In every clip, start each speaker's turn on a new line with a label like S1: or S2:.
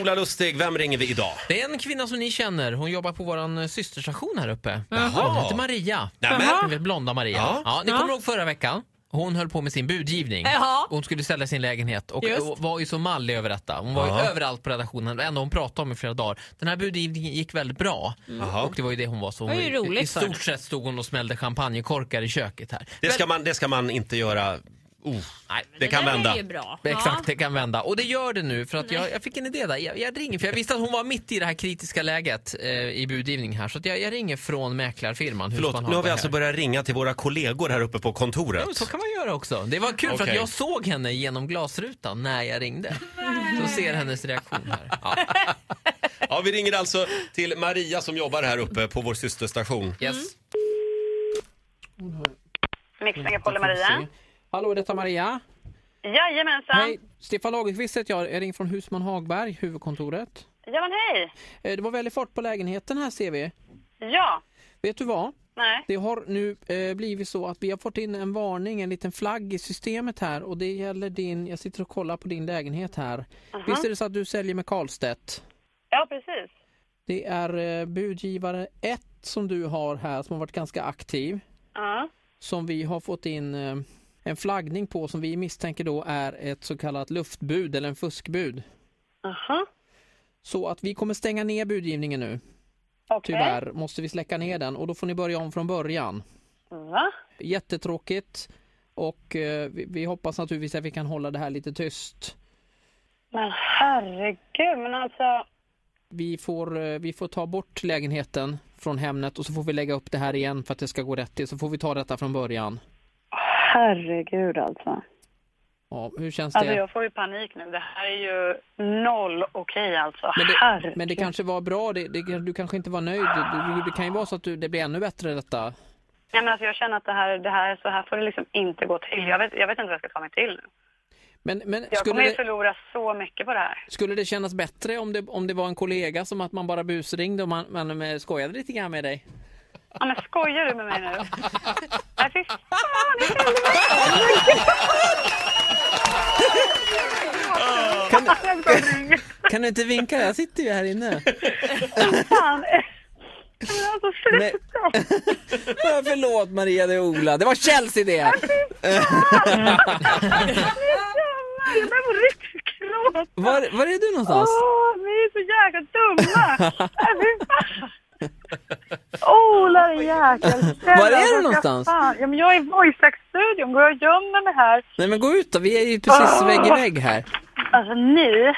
S1: Ola Lustig, vem ringer vi idag?
S2: Det är en kvinna som ni känner. Hon jobbar på vår systerstation här uppe.
S1: Jaha.
S2: Hon heter Maria.
S1: Nämen.
S2: Ni vet, Blonda Maria.
S1: Ja.
S2: Ja. ni kommer
S3: Ja.
S2: ihåg förra veckan? Hon höll på med sin budgivning.
S3: Ja.
S2: Hon skulle sälja sin lägenhet och
S3: Just.
S2: och var ju så mallig över detta. Hon var ju
S1: Ja.
S2: överallt på redaktionen. Det enda hon pratade om i flera dagar. Den här budgivningen gick väldigt bra.
S1: Jaha.
S2: Och det var ju det hon var. Så hon
S3: var ju
S2: i-
S3: roligt
S2: I
S3: för
S2: stort sett stod hon och smällde champagnekorkar i köket här.
S1: Det ska man, det ska man inte göra. Oh,
S2: Nej,
S1: det kan
S3: där
S1: vända.
S3: är ju bra.
S2: Exakt, det kan vända. Och det gör det nu för att jag, jag fick en idé där. Jag, jag ringer, för jag visste att hon var mitt i det här kritiska läget eh, i budgivning här. Så att jag, jag ringer från mäklarfirman.
S1: Förlåt,
S2: Husman
S1: nu har vi
S2: Hagberg
S1: alltså
S2: här.
S1: börjat ringa till våra kollegor här uppe på kontoret.
S2: Ja, men så kan man göra också. Det var kul för
S1: Okej.
S2: att jag såg henne genom glasrutan när jag ringde. Så ser hennes reaktion här. Ja.
S1: Ja, vi ringer alltså till Maria som jobbar här uppe på vår systerstation.
S2: Yes.
S4: Mix Megapol och Maria.
S2: Hallå, detta Maria.
S4: Jajamensan. Hej.
S2: Stefan Lagerqvist heter jag. Jag ringer från Husman Hagberg, huvudkontoret. Eh,
S4: Ja, men hej.
S2: Det var väldigt fart på lägenheten här ser vi.
S4: Ja.
S2: Vet du vad?
S4: Nej.
S2: Det har nu eh, blivit så att vi har fått in en varning, en liten flagg i systemet här och det gäller din, jag sitter och kollar på din lägenhet här. Visst är det så att du säljer med Karlstedt?
S4: Ja, precis.
S2: Det är eh, budgivare 1 som du har här som har varit ganska aktiv
S4: Ja.
S2: som vi har fått in eh, en flaggning på som vi misstänker då är ett så kallat luftbud eller en fuskbud.
S4: Aha.
S2: Så att vi kommer stänga ner budgivningen nu.
S4: Okej.
S2: Tyvärr måste vi släcka ner den och då får ni börja om från början.
S4: Va?
S2: Jättetråkigt. Och eh, vi, vi hoppas naturligtvis att vi kan hålla det här lite tyst.
S4: Men herregud, men alltså.
S2: Vi får, eh, vi får ta bort lägenheten från Hemnet och så får vi lägga upp det här igen för att det ska gå rätt till. Så får vi ta detta från början.
S4: Herregud alltså.
S2: Ja, hur känns
S4: Alltså
S2: det?
S4: jag får ju panik nu. Det här är ju noll okej alltså.
S2: Men det,
S4: herregud.
S2: men det kanske var bra. Det, det, du kanske inte var nöjd. Det, det, det kan ju vara så att du, det blir ännu bättre detta.
S4: Nej, men alltså jag känner att det här, det här, så här får det liksom inte gå till. Jag vet, jag vet inte vad jag ska ta mig till.
S2: Men, men
S4: Jag
S2: skulle,
S4: kommer ju
S2: det,
S4: förlora så mycket på det här.
S2: skulle det kännas bättre om det, om det var en kollega som att man bara busringde och man, man eh, skojade lite grann med dig?
S4: Ja, men skojar du med mig nu? Nej, fy fan. det kände mig. Jag skojar.
S2: Kan du inte vinka? Jag sitter ju här inne.
S4: Fan. Nej, men Alltså,
S2: Nej.
S4: sluta.
S2: Ja, Förlåt Maria de Ola, det var Kjells idé!
S4: Jag börjar på riktigt gråta.
S2: Var, Alltså. var är du någonstans?
S4: Åh, ni är så jäkla dumma. Nej, fy fan. Ola din jäkel.
S2: Var är du
S4: Ska
S2: någonstans?
S4: Fan. Ja, men jag är i voice-studion. Går jag och gömmer mig här?
S2: Nej men gå ut då, vi är ju precis vägg i vägg här.
S4: Alltså ni.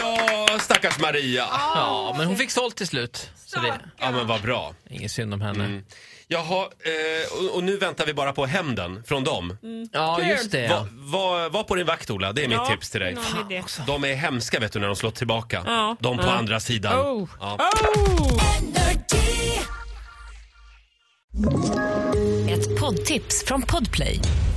S1: Ja, stackars Maria.
S2: Ja, men hon fick sålt till slut. Så det
S1: Ja, men vad bra.
S2: ingen synd om henne.
S1: Jaha, eh, och, och nu väntar vi bara på hämnden från dem.
S2: Ja, just det.
S1: Va, va, var på din vakt Ola, det är mitt tips till dig.
S3: Någon idé.
S1: De är hemska vet du när de slår tillbaka.
S3: Ja.
S1: De på
S3: Ja.
S1: andra sidan.
S3: Oh.
S1: Ja.
S3: Oh!
S5: Ett poddtips från Podplay.